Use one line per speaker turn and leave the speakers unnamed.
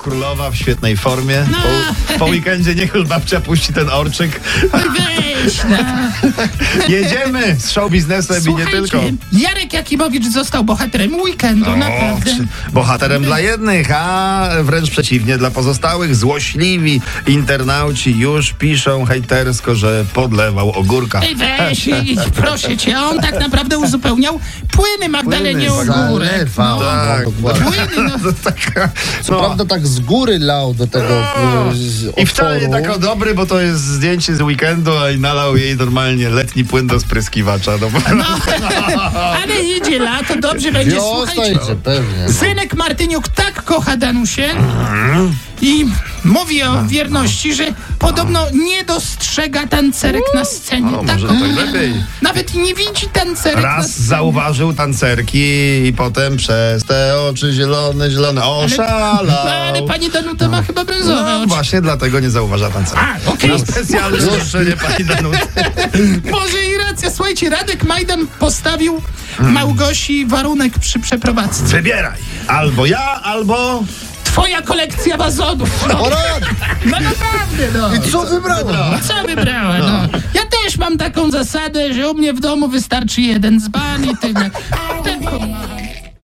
Królowa w świetnej formie.
No.
Po, po weekendzie niech już babcia puści ten orczyk.
Weź, no.
Jedziemy z show biznesem i nie
Słuchajcie,
tylko.
Jarek Jakimowicz został bohaterem weekendu, naprawdę.
czy- bohaterem dla jednych, a wręcz przeciwnie dla pozostałych. Złośliwi internauci już piszą hejtersko, że podlewał ogórka.
Ej, weź, idź, proszę cię, on tak naprawdę uzupełniał płyny Magdalenie
Płyny,
Ogórek.
zalewa.
Tak,
No, dokładnie.
Płyny, no.
To taka, No.
Co prawda tak z góry lał do tego e, z
I wcale nie
otworu.
tak o dobry, bo to jest zdjęcie z weekendu, a i nalał jej normalnie letni płyn do spryskiwacza. No, bo-
Ale idzie lato, dobrze będzie,
Wiosna
słuchajcie.
idzie, pewnie.
Synek Martyniuk tak kocha Danusię i mówi o wierności, że podobno nie dostrzega tancerek na scenie.
no,
tak
może to i lepiej.
Nawet nie widzi tancerek na
Raz
scenie.
zauważył tancerki i potem przez te oczy zielone, zielone oszalał.
No, ale pani Danuta ma chyba brązowe
No
oczy.
właśnie dlatego nie zauważa tancerki.
A, okej. No.
Na specjalne życzenie pani Danuty.
Może i racja. Słuchajcie, Radek Majdan postawił Małgosi warunek przy przeprowadzce.
Wybieraj. Albo ja, albo...
Twoja kolekcja wazonów. No,
O rad!
no naprawdę, no.
I co wybrano?
Co wybrała, no. Ja też mam taką zasadę, że u mnie w domu wystarczy jeden dzban i tyle. Ten kurwa.